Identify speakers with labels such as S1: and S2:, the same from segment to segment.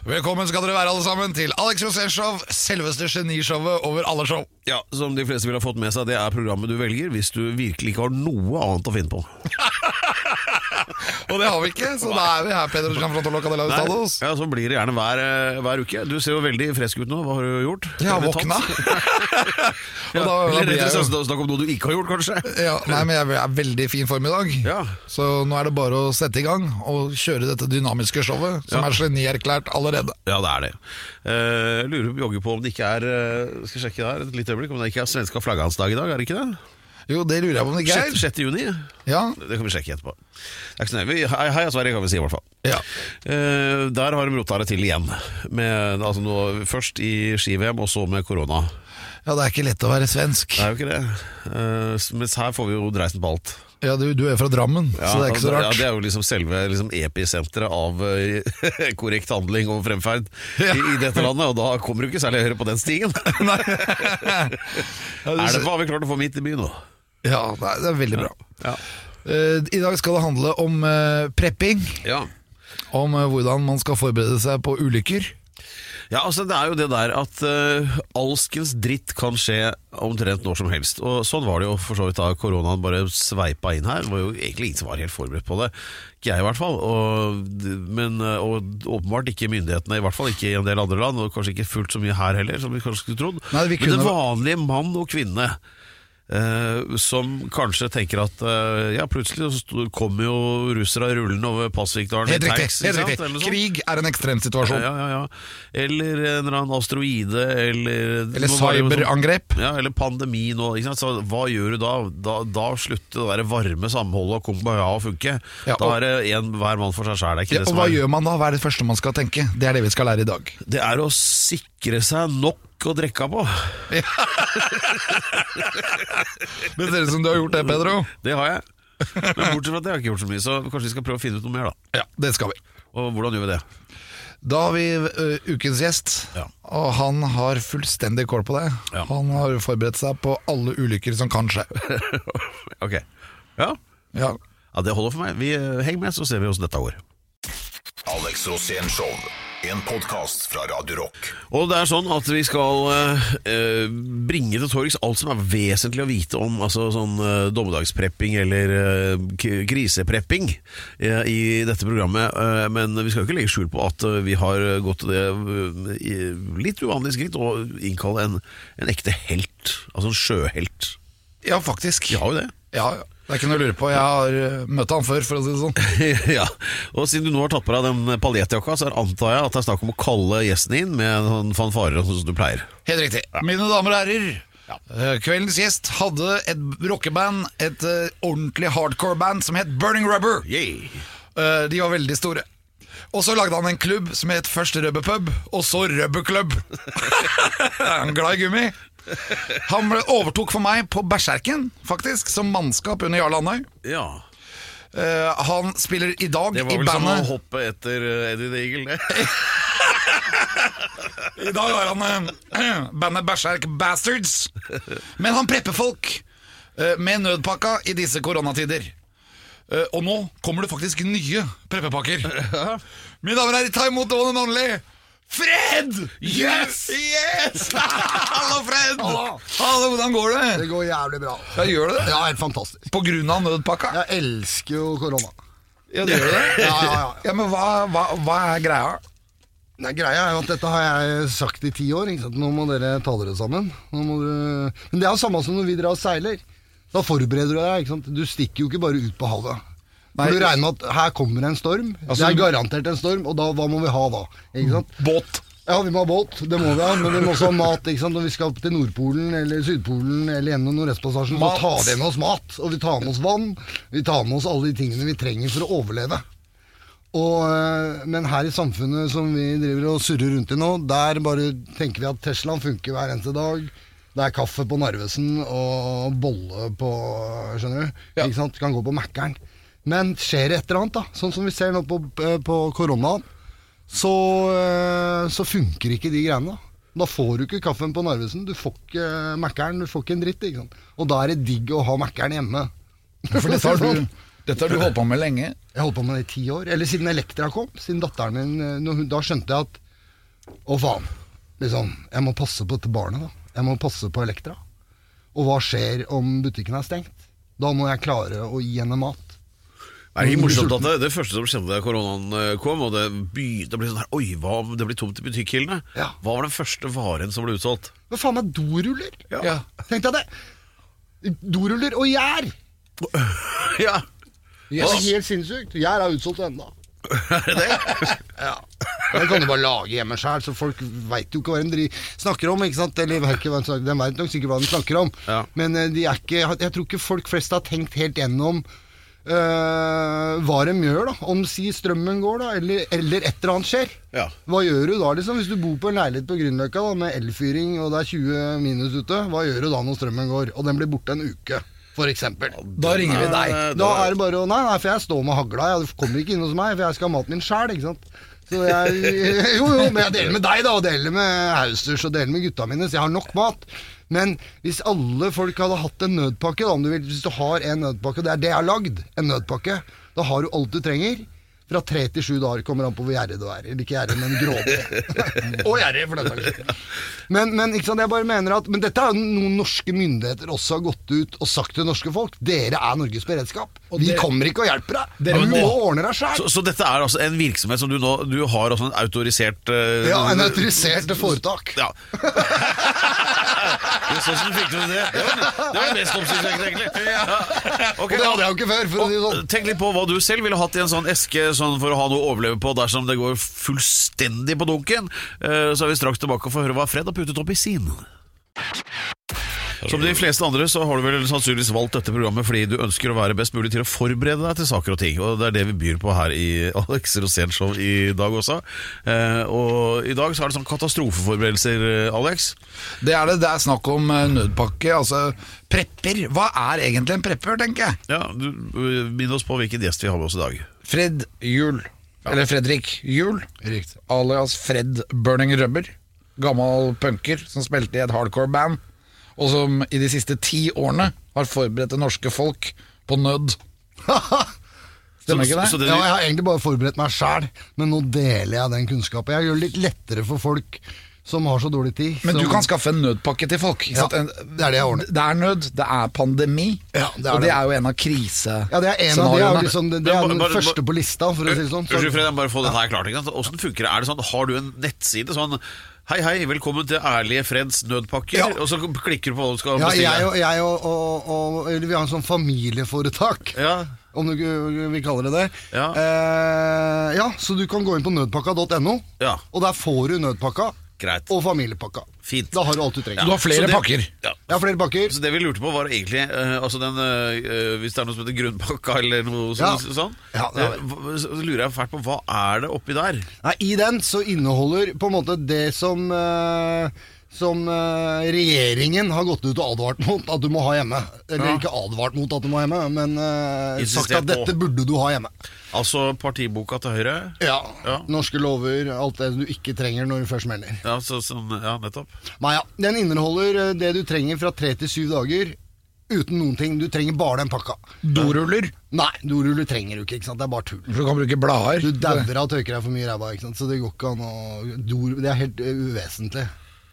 S1: Velkommen skal dere være alle sammen til Alex Rosénshow, selveste genishowet over alle show.
S2: Ja, som de fleste vil ha fått med seg, det er programmet du velger hvis du virkelig ikke har noe annet å finne på.
S1: Og det har vi ikke, så da er vi her, Peder Gianfranco Locadella Ustados.
S2: Ja, Så blir det gjerne hver, eh, hver uke. Du ser jo veldig frisk ut nå. Hva har du gjort?
S1: Jeg har
S2: Har du tatt?
S1: våkna.
S2: Ja,
S1: Og da, da blir
S2: eller rettere
S1: jeg jo
S2: sagt, snakk om noe du ikke har gjort, kanskje.
S1: ja, Nei, men jeg er veldig fin form i dag.
S2: Ja.
S1: Så nå er det bare å sette i gang og kjøre dette dynamiske showet, som er genierklært allerede.
S2: Ja, det er det. Eh, lurer jogger på om det ikke er eh, Skal sjekke der et lite øyeblikk om det ikke er svenska flaggansdag i dag, er det ikke det?
S1: Jo, det lurer jeg på om det ikke
S2: 6.
S1: er.
S2: 6. juni.
S1: Ja,
S2: Det kan vi sjekke etterpå. Det er ikke så nøye. Vi- Hei, hei, Sverige, kan vi si i hvert fall.
S1: ja.
S2: Eh, der har de rota det til igjen. Med, altså nå, først i ski-VM, og så med korona.
S1: ja, det er ikke lett å være svensk.
S2: Det er jo ikke det. Eh, s- mens her får vi jo dreisen på alt.
S1: Ja, du, du er fra Drammen, så det er ikke så
S2: Ja,
S1: rart.
S2: det er jo liksom selve liksom episenteret av eh, korrekt handling og fremferd
S1: Ja.
S2: i, i dette landet, og da kommer du ikke særlig høyere på den stigen. er det hva vi klarte å få midt i byen nå?
S1: Ja, nei, det er veldig bra.
S2: Ja.
S1: Eh, I dag skal det handle om eh, prepping.
S2: ja.
S1: Om eh, hvordan man skal forberede seg på ulykker.
S2: Ja, altså det er jo det der at uh, alskens dritt kan skje omtrent når som helst. Og sånn var det jo for så vidt da koronaen bare sveipa inn her. Det var jo egentlig ingen som var helt forberedt på det. Ikke jeg i hvert fall. Og, men, eh, og åpenbart ikke myndighetene, i hvert fall ikke i en del andre land. Og kanskje ikke fullt så mye her heller, som vi kanskje skulle trodd.
S1: Nei, vi
S2: Men
S1: kunne-
S2: den vanlige mann og kvinne Eh, som kanskje tenker at eh, ja, plutselig så sto- kommer jo russere rullende over Pasvikdalen
S1: Helt
S2: i
S1: riktig!
S2: tanks, ikke
S1: helt
S2: sant? Eller
S1: riktig
S2: noe sånt.
S1: Krig er en ekstremsituasjon.
S2: Ja, ja, ja. Eller en eller annen asteroide, eller det
S1: Eller
S2: må være noe sånt.
S1: cyberangrep.
S2: Ja, eller pandemi nå. Ikke sant? Så hva gjør du da? Da, da slutter det der varme samholdet og kumbaya å funke.
S1: Ja,
S2: da
S1: og-
S2: er det en, hver mann for seg sjæl. Det, er ikke
S1: Ja,
S2: det,
S1: og
S2: som
S1: hva
S2: er-
S1: gjør man da? Hva er det første man skal tenke? Det er det vi skal lære i dag.
S2: det er å sikre seg nok å drikke på.
S1: Det ser ut som du har gjort det, Pedro.
S2: Det har jeg. Men bortsett fra at jeg har ikke gjort så mye, så kanskje vi skal prøve å finne ut noe mer, da.
S1: Ja, det skal vi.
S2: Og hvordan gjør vi det?
S1: Da har vi ø, ukens gjest,
S2: Ja.
S1: og han har fullstendig kål på det.
S2: Ja.
S1: Han har forberedt seg på alle ulykker som kan skje.
S2: ok. Ja.
S1: Ja.
S2: ja, det holder for meg. Vi eh, Heng med, så ser vi åssen dette går.
S3: Alex Rosén Show. En podkast fra Radio Rock.
S2: Og det er sånn at vi skal eh, eh, bringe til torgs alt som er vesentlig å vite om altså sånn eh, dommedagsprepping eller eh, k- kriseprepping eh, i dette programmet. Eh, men vi skal jo ikke legge skjul på at eh, vi har gått til det eh, i litt uvanlige skritt å innkalle en, en ekte helt. Altså en sjøhelt.
S1: ja, faktisk.
S2: Vi har jo det.
S1: Ja, ja. Det er ikke noe å lure på. Jeg har ø, møtt han før, for å si det sånn.
S2: ja, og siden du nå har tatt på deg den paljettjakka, så antar jeg at det er snakk om å kalle gjesten inn med sånn fanfarer og sånn som du pleier.
S1: Helt riktig. Mine damer og herrer. eh, Kveldens gjest hadde et rockeband, et eh, ordentlig hardcore band som het Burning Rubber. Eh, de var veldig store. Og så lagde han en klubb som het først Rubberpub, og så Rubberklubb. han er glad i gummi. Han ble- overtok for meg på Berserken, faktisk, som mannskap under Jarl Andøy.
S2: Ja,
S1: Eh, han spiller i dag i
S2: Det var vel som å
S1: bandet
S2: hoppe etter eh, Eddie the Eagle, det.
S1: I dag har han eh, bandet Berserk Bastards. Men han prepper folk eh, med nødpakka i disse koronatider. Eh, og nå kommer det faktisk nye preppepakker. Mine damer og herrer, ta imot Owen Only. Fred! Yes! yes! Hallo, Fred! Hallo. Hvordan går det?
S4: Det går jævlig bra.
S1: Ja, gjør det det?
S4: Ja, helt fantastisk.
S1: På grunn av nødpakka?
S4: Jeg elsker jo korona.
S1: Ja, det gjør det?
S4: Ja, ja, ja.
S1: Ja, men hva, hva, hva er greia?
S4: Nei, greia er jo at dette har jeg sagt i ti år. Ikke sant? Nå må dere ta dere sammen. Nå må dere... Men det er jo samme som når vi drar og seiler. Da forbereder du deg. Ikke sant? Du stikker jo ikke bare ut på havet.
S1: Nei.
S4: For du regner med at her kommer en storm.
S1: Altså-
S4: det er garantert en storm, og da, hva må vi ha da? Ikke sant?
S1: Båt.
S4: Ja, vi må ha båt, det må vi ha, men vi må også ha mat. ikke sant? Når vi skal opp til Nordpolen eller Sydpolen eller gjennom Nordøstpassasjen, så
S1: Mat.
S4: tar vi med oss mat. Og vi tar med oss vann. Vi tar med oss alle de tingene vi trenger for å overleve. Og, eh, men her i samfunnet som vi driver og surrer rundt i nå, der bare tenker vi at Teslaen funker hver eneste dag. Det er kaffe på Narvesen og bolle på Skjønner du?
S5: Ja.
S4: Ikke sant? Kan gå på Mækkern. Men skjer det et eller annet, da, sånn som vi ser nå på, på koronaen, så, eh, så funker ikke de greiene. da da får du ikke kaffen på Narvesen. Du får ikke Mækkern, du får ikke en dritt. Ikke sant? Og da er det digg å ha Mækkern hjemme. Sånn.
S1: For dette sånn- har du, dette har du holdt på med lenge.
S4: Jeg holdt på med det i ti år. Eller siden Elektra kom. Siden datteren min eh, når hun- Da skjønte jeg at Å, faen. Liksom, jeg må passe på dette barnet, da. Jeg må passe på Elektra. Og hva skjer om butikken er stengt? Da må jeg klare å gi henne mat.
S2: Er det ikke morsomt at det, det første som skjedde da koronaen eh, kom, og det begynte å bli sånn her Oi, hva om det blir tomt i butikkhyllene?
S4: Ja.
S2: Hva var den første varen som ble utsolgt?
S4: Men faen meg doruller!
S2: Ja.
S4: Tenk deg det! Doruller og gjær!
S2: Ja,
S4: Det er helt sinnssykt. Gjær er utsolgt ennå.
S2: er det det?
S4: Den kan du bare lage hjemme sjøl, så folk veit jo ikke hva de dri- snakker om. ikke sant? Eller vet ikke hva de snakker- De veit nok sikkert hva de snakker om,
S2: Ja.
S4: men eh, de er ikke, jeg tror ikke folk flest har tenkt helt gjennom eh, hva de gjør, da. Om si strømmen går, da, eller, eller et eller annet skjer.
S2: Ja.
S4: Hva gjør du da, liksom? Hvis du bor på en leilighet på Grünerløkka da, med elfyring og det er 20 minus ute, hva gjør du da når strømmen går? Og den blir borte en uke, for eksempel.
S1: Da ringer vi deg.
S2: Eh,
S4: Da er det bare å Nei, nei, for jeg står med hagla. Jeg du kommer ikke inn hos meg, for jeg skal ha maten min sjæl. ikke sant? Så jeg, jo, jo, men jeg deler med deg, da, og deler med Hausters og deler med gutta mine, så jeg har nok mat. Men hvis alle folk hadde hatt en nødpakke, da, om du vil, hvis du har en nødpakke, og det er det jeg har lagd, en nødpakke, da har du alt du trenger. Fra tre til sju dager kommer an på hvor gjerrig du er. Eller ikke gjerrig, men grådig. og gjerrig, for den saks skyld. Men, men, ikke sant? Jeg bare mener at, men dette er jo noen norske myndigheter også har gått ut og sagt til norske folk. Dere er Norges beredskap. Vi
S1: dere-
S4: kommer ikke og hjelper deg.
S1: Dere
S4: du
S1: må-
S4: må ordne deg sjæl.
S2: Så, så dette er altså en virksomhet som du nå Du har altså en autorisert eh,
S4: Ja, en autorisert foretak.
S2: Ja. Det er sånn som du fikk til det. Det var, det var det mest oppsiktsvekkende, egentlig. Ja.
S4: Og det hadde jeg jo ikke før. for å si det sånn.
S2: Tenk litt på hva du selv ville hatt i en sånn eske sånn for å ha noe å overleve på dersom det går fullstendig på dunken. Eh, Så er vi straks tilbake og får høre hva Fred har puttet opp i sin. Som de fleste andre så har du vel sannsynligvis valgt dette programmet fordi du ønsker å være best mulig til å forberede deg til saker og ting. Og det er det vi byr på her i Alex Rosén Show i dag også. Eh, Og i dag så er det sånn katastrofeforberedelser, eh, Alex.
S1: Det er det. Det er snakk om eh, nødpakke, altså prepper. Hva er egentlig en prepper, tenker jeg?
S2: Ja, du, eh, Minn oss på hvilken gjest vi har med oss i dag.
S1: Fred Juhl. Eller Fredrik Juhl. Alias Fred Burning Rubber. Gammel punker som spilte i et hardcore band, og som i de siste ti årene har forberedt det norske folk på nød. Stemmer ikke det?
S2: Så- så det-
S4: Ja, jeg har egentlig bare forberedt meg sjæl, men nå deler jeg den kunnskapen. Jeg gjør det litt lettere for folk som har så dårlig tid.
S1: Men du
S4: som-
S1: kan skaffe en nødpakke til folk. ikke
S4: Ja,
S1: sant? En-
S4: det er det jeg ordner.
S1: Det er nød, det er pandemi,
S4: Ja, det er
S1: og
S4: det.
S1: det er jo en av krisescenarioene.
S4: Ja, det er en av de, er jo liksom, det, det
S2: Men
S4: er
S2: bare-
S4: den
S2: bare-
S4: første på lista, for å si det sånn. Så-
S2: Unnskyld, Fred, jeg må bare få dette her klart. Ikke? sant? Hvordan funker det? Er det sånn, har du en nettside sånn Hei, hei, velkommen til Ærlige Freds nødpakker,
S4: Ja.
S2: og så klikker du på hva du skal
S4: Ja,
S2: bestille?
S4: jeg og, jeg og, og, og eller Vi har en sånn familieforetak,
S2: Ja.
S4: om du ikke vil kalle det det.
S2: Ja.
S4: Eh, ja, så du kan gå inn på nødpakka.no,
S2: Ja.
S4: og der får du nødpakka
S2: Greit.
S4: og familiepakka.
S2: Fint.
S4: Da har du alt du
S2: Ja.
S4: trenger.
S1: Du har flere
S2: Så det-
S1: pakker.
S2: Ja.
S4: Jeg har flere pakker.
S2: Så det vi lurte på, var egentlig eh, altså den, eh, eh, Hvis det er noe som heter grunnpakka eller noe
S4: Ja.
S2: sånt, sånn,
S4: Ja, det er
S2: eh, hva- så lurer jeg fælt på hva er det oppi der?
S4: Nei, I den så inneholder på en måte det som eh, som eh, regjeringen har gått ut og advart mot at du må ha hjemme. Eller
S2: Ja.
S4: ikke advart mot at du må ha hjemme, men eh, sagt
S2: Insistert
S4: at
S2: på.
S4: dette burde du ha hjemme.
S2: Altså partiboka til Høyre?
S4: Ja.
S2: Ja.
S4: Norske lover, alt det du ikke trenger når du først melder.
S2: Ja, så, sånn, ja nettopp.
S4: Nei, ja. Den inneholder eh, det du trenger fra tre til syv dager uten noen ting. Du trenger bare den pakka.
S1: sånn Doruller,
S4: Nei, doruller trenger du ikke. ikke sant? Det er bare tull.
S1: så du kan bruke blader.
S4: Du dauer av å tøyke deg for mye i ræva, ikke sant? så det går ikke an å dor, Det er helt eh, uvesentlig.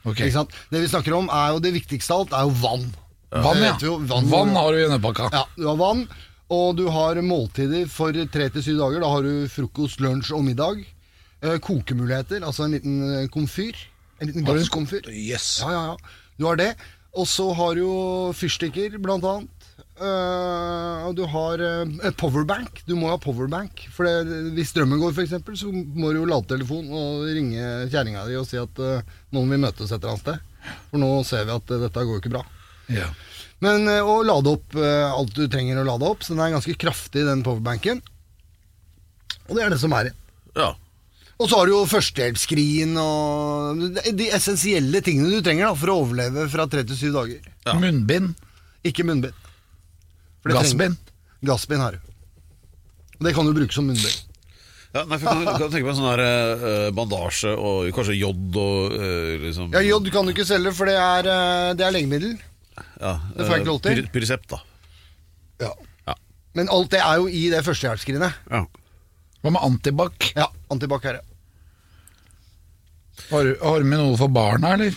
S1: Ok.
S4: Ikke sant? Det vi snakker om, er jo det viktigste av alt, er jo vann.
S1: Vann,
S4: Det
S1: ja.
S4: vet vi jo,
S1: Vann, har du i nødpakka.
S4: Ja, du har vann, og du har måltider for tre til syv dager. Da har du frokost, lunsj og middag. Eh, kokemuligheter, altså en liten eh, komfyr. En liten
S1: du-
S4: gasskomfyr.
S1: Yes.
S4: Ja, ja, ja. Du har det. Og så har du jo fyrstikker, blant annet. Eh, og du har eh, powerbank. Du må ha powerbank. For det, hvis strømmen går, f.eks., så må du jo lade telefonen og ringe kjerringa di og si at eh, nå må vi møtes et eller annet sted. For nå ser vi at eh, dette går jo ikke bra.
S1: Ja.
S4: Men eh, å lade opp eh, alt du trenger å lade opp, så den er ganske kraftig, den powerbanken. Og det er det som er igjen.
S2: Ja.
S4: Og så har du jo førstehjelpsskrin og de essensielle tingene du trenger da, for å overleve fra tre til syv dager.
S1: Munnbind.
S4: Ikke munnbind. For det trenger-
S1: Gassbind.
S4: Gassbind har du. Og Det kan du bruke som munnbind.
S2: Ja, nei, for jeg kan, kan tenke meg sånn her eh, bandasje og kanskje jod og eh, liksom
S4: Ja, Jod kan du ikke selge, for det er, eh, det er legemiddel.
S2: ja,
S4: det får jeg ikke lov til.
S2: eh, pyr- Pyresept, da.
S4: Ja.
S2: Ja.
S4: Men alt det er jo i det førstehjelpsskrinet.
S2: Ja.
S1: Hva med antibac?
S4: Ja, antibac er det.
S1: Har, har du med noe for barna, eller?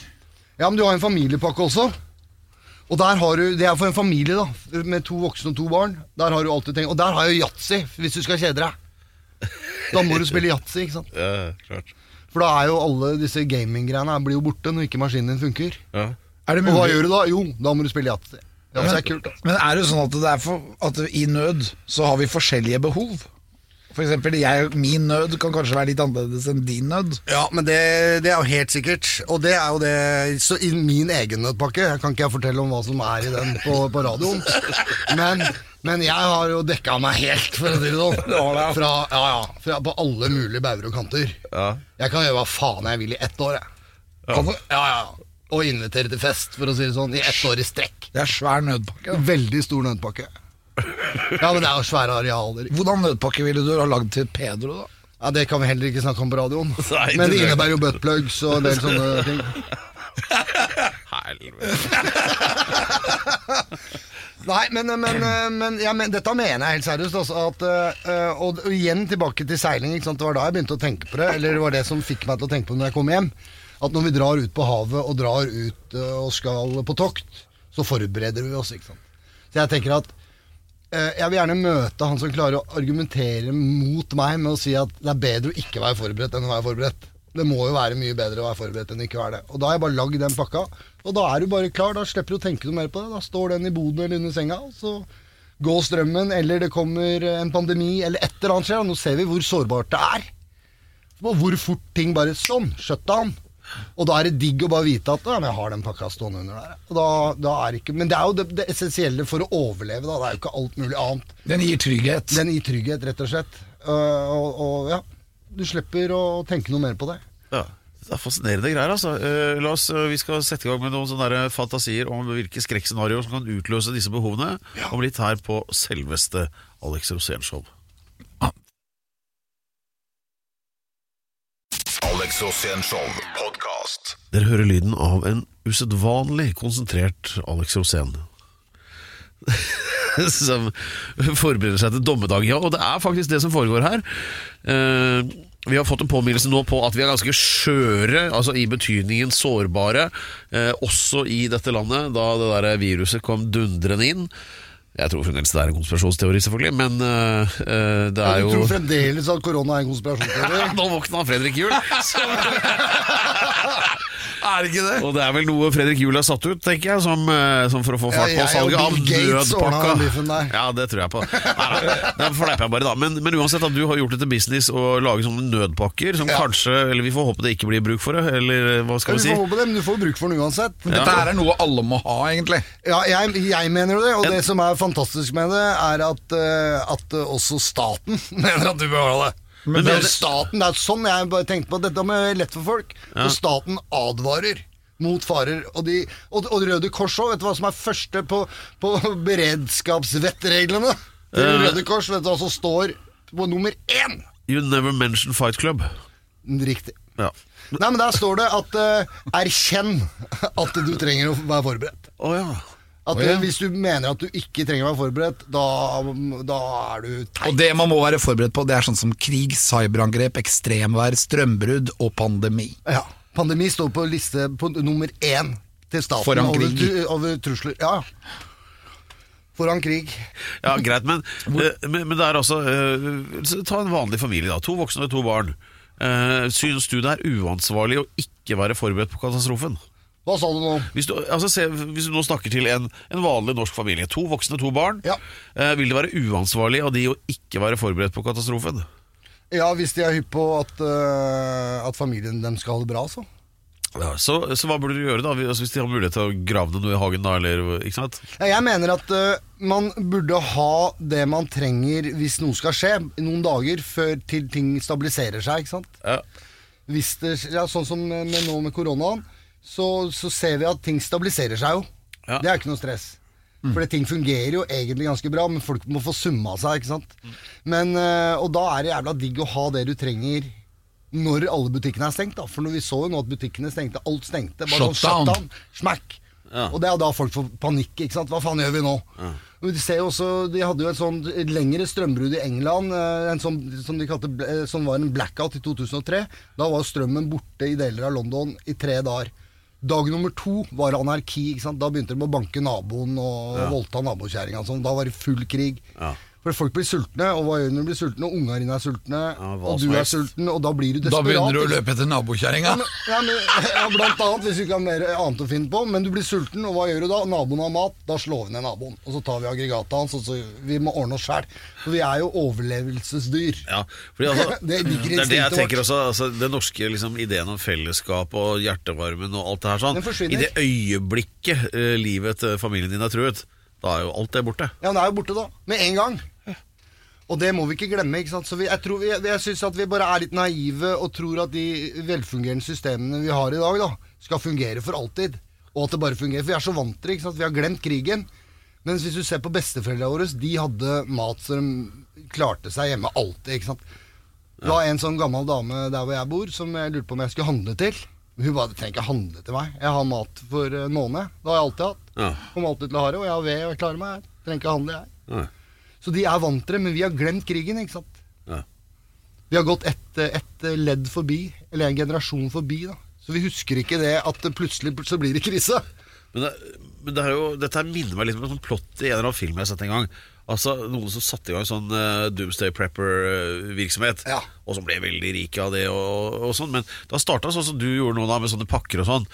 S4: Ja, men du har en familiepakke også. Og der har du, Det er for en familie da med to voksne og to barn. Der har du alt du trenger. Og der har jeg yatzy, hvis du skal kjede deg. Da må du spille yatzy, ikke sant.
S2: Ja, klart.
S4: For da er jo alle disse gaminggreiene her blir jo borte når ikke maskinen din funker.
S2: Ja.
S1: Er det
S4: Og hva
S1: mulig-
S4: gjør du da? Jo, da må du spille yatzy. Yatzy er kult, altså.
S1: Men er det sånn at det er for, at i nød så har vi forskjellige behov? For eksempel, jeg, min nød kan kanskje være litt annerledes enn din nød.
S4: Ja, men det, det er jo helt sikkert. Og det er jo det Så i min egen nøttpakke jeg Kan ikke jeg fortelle om hva som er i den på, på radioen. Men, men jeg har jo dekka meg helt, for å si det sånn. Fra, ja, ja, fra, på alle mulige bauger og kanter.
S2: Ja.
S4: Jeg kan gjøre hva faen jeg vil i ett år, jeg.
S1: Kan du-
S4: Ja, ja. Og invitere til fest, for å si det sånn. I ett år i strekk.
S1: Det er svær nødpakke. da.
S4: Veldig stor nøttpakke. Ja, men det er jo svære arealer.
S1: Hvordan nødpakke ville du ha lagd til Pedro, da?
S4: Ja, Det kan vi heller ikke snakke om på radioen.
S2: Nei,
S4: Men
S2: det
S4: det
S2: tror jeg
S4: innebærer jo buttplugs og en del sånne ting. Nei, men, men, eh, men, ja, men dette mener jeg helt seriøst. Altså, at, eh, og, og igjen tilbake til seiling. Ikke sant? Det var da jeg begynte å tenke på det. Eller det var det som fikk meg til å tenke på det når jeg kom hjem. At når vi drar ut på havet og drar ut eh, og skal på tokt, så forbereder vi oss. Ikke sant? Så jeg tenker at eh, jeg vil gjerne møte han som klarer å argumentere mot meg med å si at det er bedre å ikke være forberedt enn å være forberedt. Det må jo være mye bedre å være forberedt enn ikke være det. Og da har jeg bare lagd den pakka, og da er du bare klar. Da slipper du å tenke noe mer på det. Da står den i boden eller under senga, og så går strømmen, eller det kommer en pandemi, eller et eller annet skjer. og Nå ser vi hvor sårbart det er. Og hvor fort ting bare sånn, shutdown. Og da er det digg å bare vite at ja, men jeg har den pakka stående under der. Og da, da er det ikke, men det er jo det, det essensielle for å overleve, da. Det er jo ikke alt mulig annet.
S1: Den gir trygghet.
S4: Den gir trygghet, rett og slett. Uh, og, og ja, du slipper å tenke noe mer på det.
S2: Ja. Det er fascinerende greier, altså. Eh, la oss, eh, vi skal sette i gang med noen sånne der eh, fantasier om hvilke skrekkscenarioer som kan utløse disse behovene, om litt her på selveste Alex Rosén-show.
S3: Alex Rosén-show podkast.
S2: Dere hører lyden av en usedvanlig konsentrert Alex Rosén. som forbereder seg til dommedag. Ja, og det er faktisk det som foregår her. Eh, vi har fått en påminnelse nå på at vi er ganske skjøre, altså i betydningen sårbare, eh, også i dette landet, da det der viruset kom dundrende inn. Jeg tror fremdeles det er en konspirasjonsteori, selvfølgelig, men eh, eh, det er
S4: Du
S2: jo
S4: tror fremdeles at korona er en konspirasjonsteori?
S2: nå våkna Fredrik Juhl. er det ikke det? Og det er vel noe Fredrik Juhl har satt ut, tenker jeg, som, eh, som for å få fart på
S4: Ja, jeg
S2: salget
S4: og
S2: av
S4: Bill Gates ordna
S2: nødpakka.
S4: den biffen der.
S2: Ja, det tror jeg på. Nei, nei, Det fleiper jeg bare, da. Men, men uansett, at du har gjort det til business å lage sånne nødpakker som kanskje Eller vi får håpe det ikke blir bruk for det, eller eh, hva skal vi
S4: Ja, du
S2: si?
S4: får håpe det, men du får bruk for den uansett.
S1: Dette her er noe alle må ha, egentlig.
S4: Ja, jeg, jeg mener jo det, og det som er fantastisk med det, er at, eh, at eh, også staten mener at du bør ha det. Men det er staten, det er sånn jeg bare tenkte på at dette må være lett for folk. Og staten advarer mot farer. Og, de, og, og Røde Kors òg, vet du hva som er første på, på beredskapsvettreglene? Til Røde Kors, vet du hva som står på nummer én?
S2: You never mention Fight Club.
S4: Riktig.
S2: Ja.
S4: Nei, men der står det at eh, erkjenn at du trenger å være forberedt.
S2: Å ja.
S4: At eh, Hvis du mener at du ikke trenger å være forberedt, da, da er du
S1: Og det man må være forberedt på, det er sånn som krig, cyberangrep, ekstremvær, strømbrudd og pandemi.
S4: ja. Pandemi står på liste på nummer én til staten
S1: Foran
S4: over,
S1: krig.
S4: tru- over trusler. Ja, ja. Foran krig.
S2: Ja, greit, men, eh, men, men det er altså eh, så Ta en vanlig familie, da. To voksne og to barn. Eh, synes du det er uansvarlig å ikke være forberedt på katastrofen?
S4: Hva sa du nå?
S2: Hvis du, altså, se, hvis du nå snakker til en, en vanlig norsk familie, to voksne og to barn,
S4: Ja.
S2: eh, vil det være uansvarlig av de å ikke være forberedt på katastrofen?
S4: Ja, hvis de er hypp på at, eh, at familien dem skal ha det bra, så.
S2: Ja, så, så hva burde du gjøre da, altså, hvis de har mulighet til å grave det noe i hagen da, eller ikke sant?
S4: Ja, Jeg mener at ø, man burde ha det man trenger hvis noe skal skje, noen dager før til ting stabiliserer seg. ikke sant?
S2: Ja.
S4: Hvis det, ja, sånn som med, nå med koronaen, så, så ser vi at ting stabiliserer seg jo.
S2: Ja.
S4: Det er jo ikke noe stress. Fordi ting fungerer jo egentlig ganske bra, men folk må få summa seg. ikke sant? Men, ø, og da er det jævla digg å ha det du trenger når alle butikkene er stengt. da. For når vi så jo nå at butikkene stengte, alt stengte. Bare sånn
S1: Shutdown.
S4: shutdown. Smack. Og det er jo da folk får panikk. ikke sant? Hva faen gjør vi nå? Og Vi ser jo også, De hadde jo et sånn lengre strømbrudd i England, eh, en sånn, som de kalte, bl- eh, som var en blackout i 2003. Da var strømmen borte i deler av London i tre dager. Dag nummer to var anarki. ikke sant? Da begynte de å banke naboen og voldta nabokjerringa. og Sånn. Da var det full krig. For folk blir sultne, og hva gjør du når du blir sultne? Og unga dine er sultne,
S2: hva
S4: og
S2: som
S4: du er
S2: helst.
S4: sulten, og da blir du
S1: Da
S4: desperat.
S1: begynner du å
S4: ikke sant?
S1: løpe etter nabokjerringa.
S4: Ja, men, ja, men, ja, blant annet, hvis du ikke har mer annet å finne på. Men du blir sulten, og hva gjør du da? Naboen har mat, da slår vi ned naboen. Og så tar vi aggregatet hans, og så vi må ordne oss sjæl. For vi er jo overlevelsesdyr.
S2: Ja, fordi altså,
S4: Det
S2: det,
S4: ligger i
S2: er det jeg
S4: instinktet
S2: tenker
S4: vårt.
S2: også. Altså, den norske liksom, ideen om fellesskap og hjertevarmen og alt det her
S4: Den
S2: sånn. I
S4: forsvinner.
S2: det øyeblikket eh, livet til familien din er truet, da er jo alt det borte.
S4: Ja, den er jo borte, da. Med en gang. Og det må vi ikke glemme. ikke sant? Så vi, jeg tror vi, jeg syns at vi bare er litt naive og tror at de velfungerende systemene vi har i dag, da, skal fungere for alltid. Og at det bare fungerer. For vi er så vant til det. ikke sant? Vi har glemt krigen. Mens hvis du ser på besteforeldrene våre, de hadde mat så de klarte seg hjemme alltid. ikke sant? Det var en sånn gammel dame der hvor jeg bor, som jeg lurte på om jeg skulle handle til. Hun bare 'Du trenger ikke handle til meg. Jeg har mat for eh, en måned.' Det har jeg alltid hatt.
S2: Ja.
S4: Kommer alltid til å ha det. Og jeg har ved, og jeg klarer meg. Jeg trenger ikke handle, jeg.
S2: Ja.
S4: Så de er vant til det, men vi har glemt krigen, ikke sant?
S2: Ja.
S4: Vi har gått ett et ledd forbi, eller en generasjon forbi, da. Så vi husker ikke det at det plutselig så blir det krise.
S2: Men, det, men det er jo, dette her minner meg litt om en sånn plott i en eller annen film jeg har sett en gang. Altså, Noen som satte i gang sånn eh, Doomsday Prepper-virksomhet.
S4: Ja.
S2: Og som ble veldig rike av det. og, og sånn Men da starta sånn som du gjorde nå, da med sånne pakker og sånn.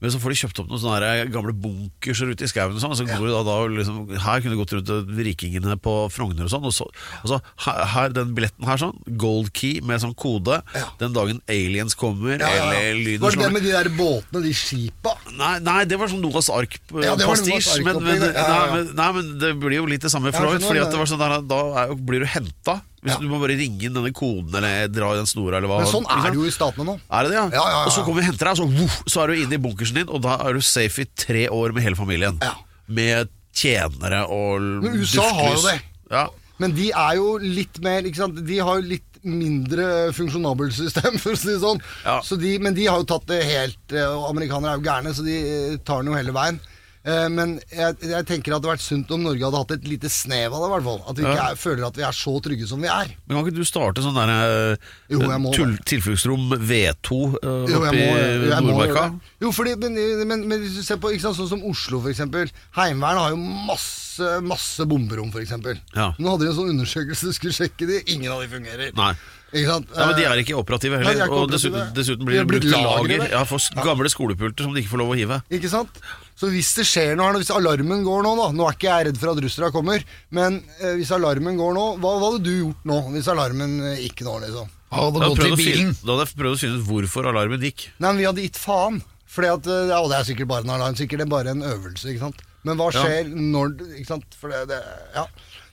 S2: Men så får de kjøpt opp noen sånne her gamle bunkers ute i skauen. og sånn, og Så går de da, da og liksom, Her kunne de gått rundt til rikingene på Frogner og sånn. Og så, og så her, her, den billetten her sånn, gold key med sånn kode. Den dagen aliens kommer, eller lyden
S4: Var det
S2: slår
S4: det med de der båtene, de skipa?
S2: Nei, nei, det var sånn Noas
S4: Ja, det var Noahs
S2: ark-pastisj. men, men,
S4: Ark-opplegg, ja, ja, ja.
S2: nei, men- nei, men det blir jo litt det samme
S4: Ja,
S2: Freud.
S4: skjønner
S2: Fordi
S4: det.
S2: at det var sånn der, Da er, jo- blir du henta. Hvis
S4: Ja.
S2: Du må bare ringe inn denne koden eller dra i den snora. Eller hva,
S4: Men sånn
S2: ikke
S4: er
S2: sant?
S4: det jo i statene nå.
S2: Er det det, ja?
S4: Ja, ja, ja.
S2: Og så kommer vi og henter deg, og så, voff, så er du inne i bunkersen din, og da er du safe i tre år med hele familien.
S4: Ja.
S2: Med tjenere og l-
S4: Men USA har jo
S2: duftlys.
S4: det.
S2: Ja.
S4: Men de er jo litt mer ikke sant? De har jo litt mindre funksjonabelt system, for å si det sånn.
S2: Ja.
S4: Så de, men de har jo tatt det helt eh, Og amerikanere er jo gærne, så de eh, tar den jo hele veien. Eh, Men jeg, jeg tenker at det hadde vært sunt om Norge hadde hatt et lite snev av det. i hvert fall At vi ikke er, føler at vi er så trygge som vi er.
S2: Men kan ikke du starte sånn der
S4: Jo, jeg må
S2: eh, tull- tilfluktsrom V2 eh,
S4: Jo,
S2: oppe
S4: jeg må,
S2: i
S4: jeg må gjøre
S2: Nordmarka?
S4: det. Jo, fordi, men, men, men hvis du ser på ikke sant, sånn som Oslo, for eksempel. Heimevernet har jo masse, masse bomberom, for eksempel.
S2: Ja.
S4: Nå hadde de en sånn undersøkelse, skulle sjekke de. Ingen av de fungerer.
S2: Nei.
S4: Ikke sant? Eh,
S2: Ja, men De er ikke operative heller.
S4: Nei, de er ikke
S2: og dessuten,
S4: operative.
S2: dessuten
S4: De
S2: blir
S4: har
S2: det
S4: blitt
S2: brukt til
S4: lagre,
S2: lager
S4: det.
S2: ja, for s- gamle skolepulter som de ikke får lov å hive.
S4: Ikke sant? Så hvis det skjer noe her nå, hvis alarmen går nå, da Nå er ikke jeg redd for at russere kommer, men eh, hvis alarmen går nå, hva, hva hadde du gjort nå hvis alarmen eh, gikk nå, liksom?
S1: Hadde
S2: Da
S1: gått i
S2: hadde, jeg prøvd å
S1: bilen.
S2: finne, da hadde jeg prøvd å finne ut hvorfor alarmen gikk.
S4: Nei, men vi hadde gitt faen. Fordi at, eh, ja, det er sikkert bare en alarm, sikkert det er bare en øvelse, ikke sant. Men hva skjer når Ikke sant. For det, det Ja.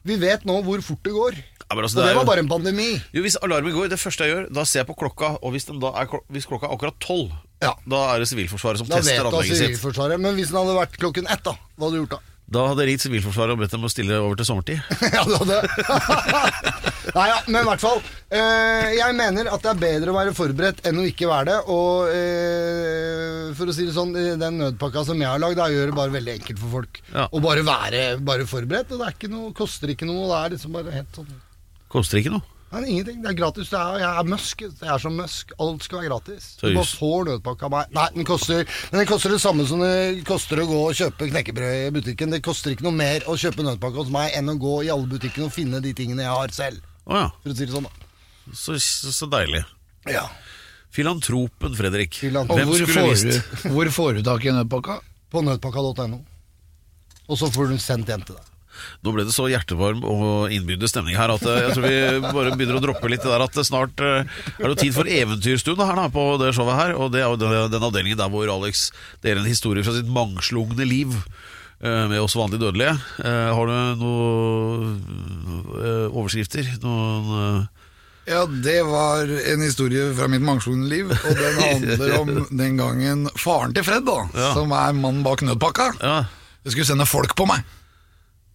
S4: Vi vet nå hvor fort det går.
S2: Ja, men altså,
S4: Og
S2: det er
S4: det var
S2: jo-
S4: bare en pandemi.
S2: Jo, Hvis alarmen går, det første jeg gjør, da ser jeg på klokka. Og hvis, den da er, klok- hvis klokka er akkurat tolv,
S4: Ja.
S2: da er det Sivilforsvaret som
S4: Da vet
S2: tester
S4: du at
S2: anlegget sitt.
S4: Sivilforsvaret Men hvis den hadde vært klokken ett, da, hva hadde du gjort da?
S2: Da hadde jeg ringt Sivilforsvaret og bedt dem å stille over til sommertid.
S4: ja, du hadde Nei, ja, men i hvert fall. eh, jeg mener at det er bedre å være forberedt enn å ikke være det. Og eh, for å si det sånn, eh, den nødpakka som jeg har lagd, da gjør det bare veldig enkelt for folk.
S2: Ja.
S4: Å bare være bare forberedt. Og det er ikke noe, koster ikke noe. Det er liksom bare helt sånn
S2: Koster ikke noe.
S4: Nei, ingenting. Det er gratis. Det er, jeg er musk. Jeg er som musk. Alt skal være gratis. Du
S2: Tøys.
S4: bare får nødpakka av meg. Nei, den koster, men den koster det samme som det koster å gå og kjøpe knekkebrød i butikken. Det koster ikke noe mer å kjøpe nødpakke hos meg enn å gå i alle butikkene og finne de tingene jeg har selv.
S2: Å ja.
S4: For å si det sånn, da.
S2: Så, så, så deilig.
S4: Ja.
S2: Filantropen, Fredrik.
S1: Og
S4: Filantropen.
S2: Hvem
S1: hvor
S2: skulle
S1: får,
S2: visst?
S1: du, hvor får du tak i nødpakka?
S4: På nødpakka.no. Og så får du sendt hjem til deg.
S2: Nå ble det så hjertevarm og innbydende stemning her at eh, jeg tror vi bare begynner å droppe litt det der at det snart eh, er det jo tid for eventyrstund her da, på det showet her. Og det er jo den- den avdelingen der hvor Alex deler en historie fra sitt mangslungne liv. eh, Med oss vanlige dødelige. Eh, Har du noen eh, overskrifter? Noen eh,
S1: Ja, det var en historie fra mitt mangslungne liv, og den handler om den gangen faren til Fred, da,
S2: Ja.
S1: som er mannen bak nødpakka,
S2: Ja.
S1: jeg skulle sende folk på meg.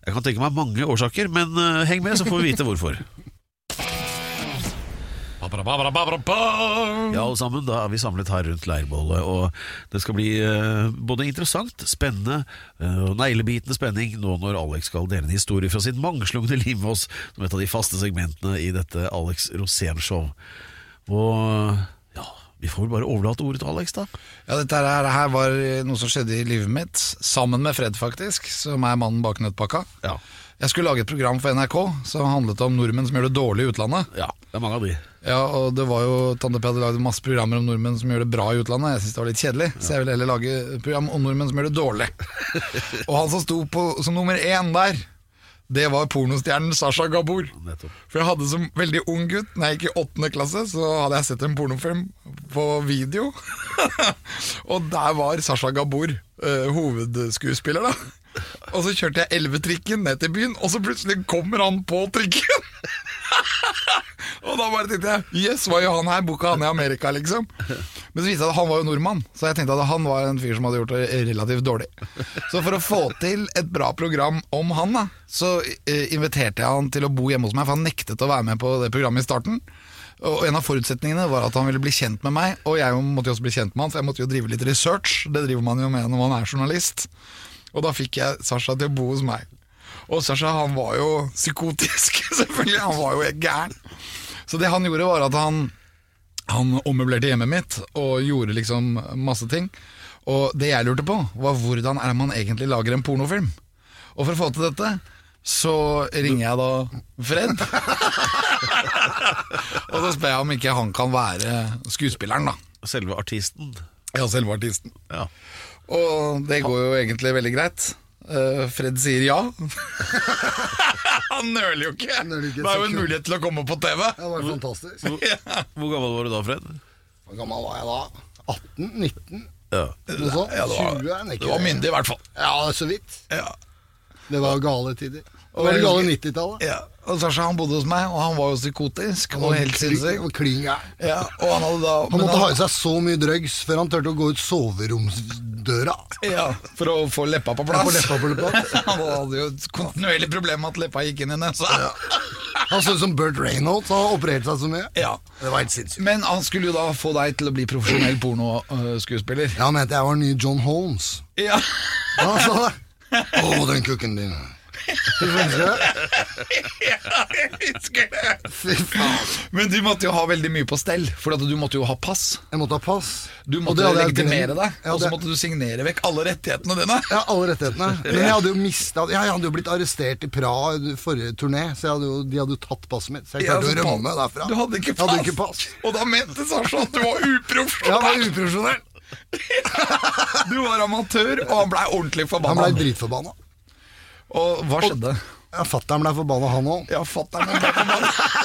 S2: Jeg kan tenke meg mange årsaker, men eh, heng med, så får vi vite hvorfor. Ja, alle sammen, da er vi samlet her rundt leirbålet, og det skal bli eh, både interessant, spennende eh, og neglebitende spenning nå når Alex skal dele en historie fra sitt mangslungne liv med oss som et av de faste segmentene i dette Alex Rosén-show. Og ja, vi får vel bare overlate ordet til Alex, da.
S1: Ja, dette her, her var noe som skjedde i livet mitt, sammen med Fred faktisk, som er mannen bak nødpakka.
S2: Ja.
S1: Jeg skulle lage et program for NRK som handlet om nordmenn som gjør det dårlig i utlandet.
S2: Ja, det er mange av de.
S1: Ja, og det var jo Tante P hadde lagd masse programmer om nordmenn som gjør det bra i utlandet. Jeg syntes det var litt kjedelig, så jeg ville heller lage et program om nordmenn som gjør det dårlig. og han som sto på som nummer én der, det var pornostjernen Sasha Gabor.
S2: Nettopp.
S1: For jeg hadde som veldig ung gutt, når jeg gikk i åttende klasse, så hadde jeg sett en pornofilm på video. og der var Sasha Gabor eh, hovedskuespiller, da. Og så kjørte jeg elvetrikken ned til byen, og så plutselig kommer han på trikken! Og da bare tenkte jeg Yes, hva gjør han her? Boka han i Amerika, liksom. Men så viste det seg at han var jo nordmann, så jeg tenkte at han var en fyr som hadde gjort det relativt dårlig. Så for å få til et bra program om han, da, så eh, inviterte jeg han til å bo hjemme hos meg, for han nektet å være med på det programmet i starten. Og en av forutsetningene var at han ville bli kjent med meg, og jeg måtte jo også bli kjent med han, for jeg måtte jo drive litt research. Det driver man jo med når man er journalist. Og da fikk jeg Sasha til å bo hos meg. Og Sasha han var jo psykotisk, selvfølgelig. Han var jo helt gæren. Så det han gjorde, var at han, han ommøblerte hjemmet mitt og gjorde liksom masse ting. Og det jeg lurte på, var hvordan er det man egentlig lager en pornofilm? Og for å få til dette, så ringer jeg da Fred. og så spør jeg om ikke han kan være skuespilleren, da.
S2: Selve artisten.
S1: Ja, selve artisten.
S2: Ja.
S1: Og det går jo egentlig veldig greit. Eh, Fred sier ja. han nøler jo ikke.
S4: nøler ikke et
S1: Det er jo en
S4: sekund.
S1: mulighet til å komme på TV.
S4: Det var fantastisk.
S2: Hvor gammel var du da, Fred?
S4: Hvor gammel var jeg da? 18? 19?
S2: Ja.
S4: Noe sånt?
S1: Ja, det var,
S4: 20 sånn? er den
S1: det var
S4: ikke.
S1: myndig i hvert fall.
S4: Ja, så vidt.
S1: Ja.
S4: Det var gale tider. Det var det gale 90-tallet.
S1: Ja, og Sasha han bodde hos meg, og han var jo psykotisk og helt
S4: Kling-
S1: sinnssyk.
S4: og kling gæren.
S1: Ja, og han hadde da
S4: Han
S1: men
S4: måtte ha i seg så mye drugs før han turte å gå ut soveromsdøra.
S1: ja, For å få leppa på
S4: Ja,
S1: plass.
S4: få leppa på plass.
S1: han hadde jo et kontinuerlig problem med at leppa gikk inn i nesa.
S4: Han så ut som Burt Reynolds, han har operert seg så mye.
S1: Ja.
S4: Det var helt sinnssykt.
S1: Men han skulle jo da få deg til å bli profesjonell pornoskuespiller.
S4: Ja, Han mente jeg var den nye John Holmes.
S1: Ja.
S4: Ja, Han sa det. Å, den kukken din. Fy faen,
S1: jeg husker det!
S4: Fy faen.
S1: Men du måtte jo ha veldig mye på stell, for at du måtte jo ha pass.
S4: Jeg måtte ha pass.
S1: Du
S4: Og
S1: måtte
S4: det hadde jeg
S1: legitimere
S4: glemt.
S1: deg,
S4: Ja,
S1: og så
S4: det-
S1: måtte du signere vekk alle rettighetene dine.
S4: Ja, alle rettighetene. Men jeg hadde jo mista ja, Jeg hadde jo blitt arrestert i Praha i forrige turné, så jeg hadde jo, de hadde jo tatt passet mitt. Så jeg
S1: Ja,
S4: klarte å
S1: så
S4: rømme derfra.
S1: Du hadde ikke
S4: Jeg
S1: pass.
S4: Hadde ikke pass.
S1: Og da mente Sasha at du var
S4: Ja, han var
S1: uprofesjonell.
S4: uprofesjonell.
S1: du var amatør, og han blei ordentlig
S4: Han
S1: forbanna.
S4: blei dritforbanna.
S1: Og hva skjedde?
S4: Ja, Fatter'n blei forbanna, han òg.
S1: Ja, fatter'n ble forbanna.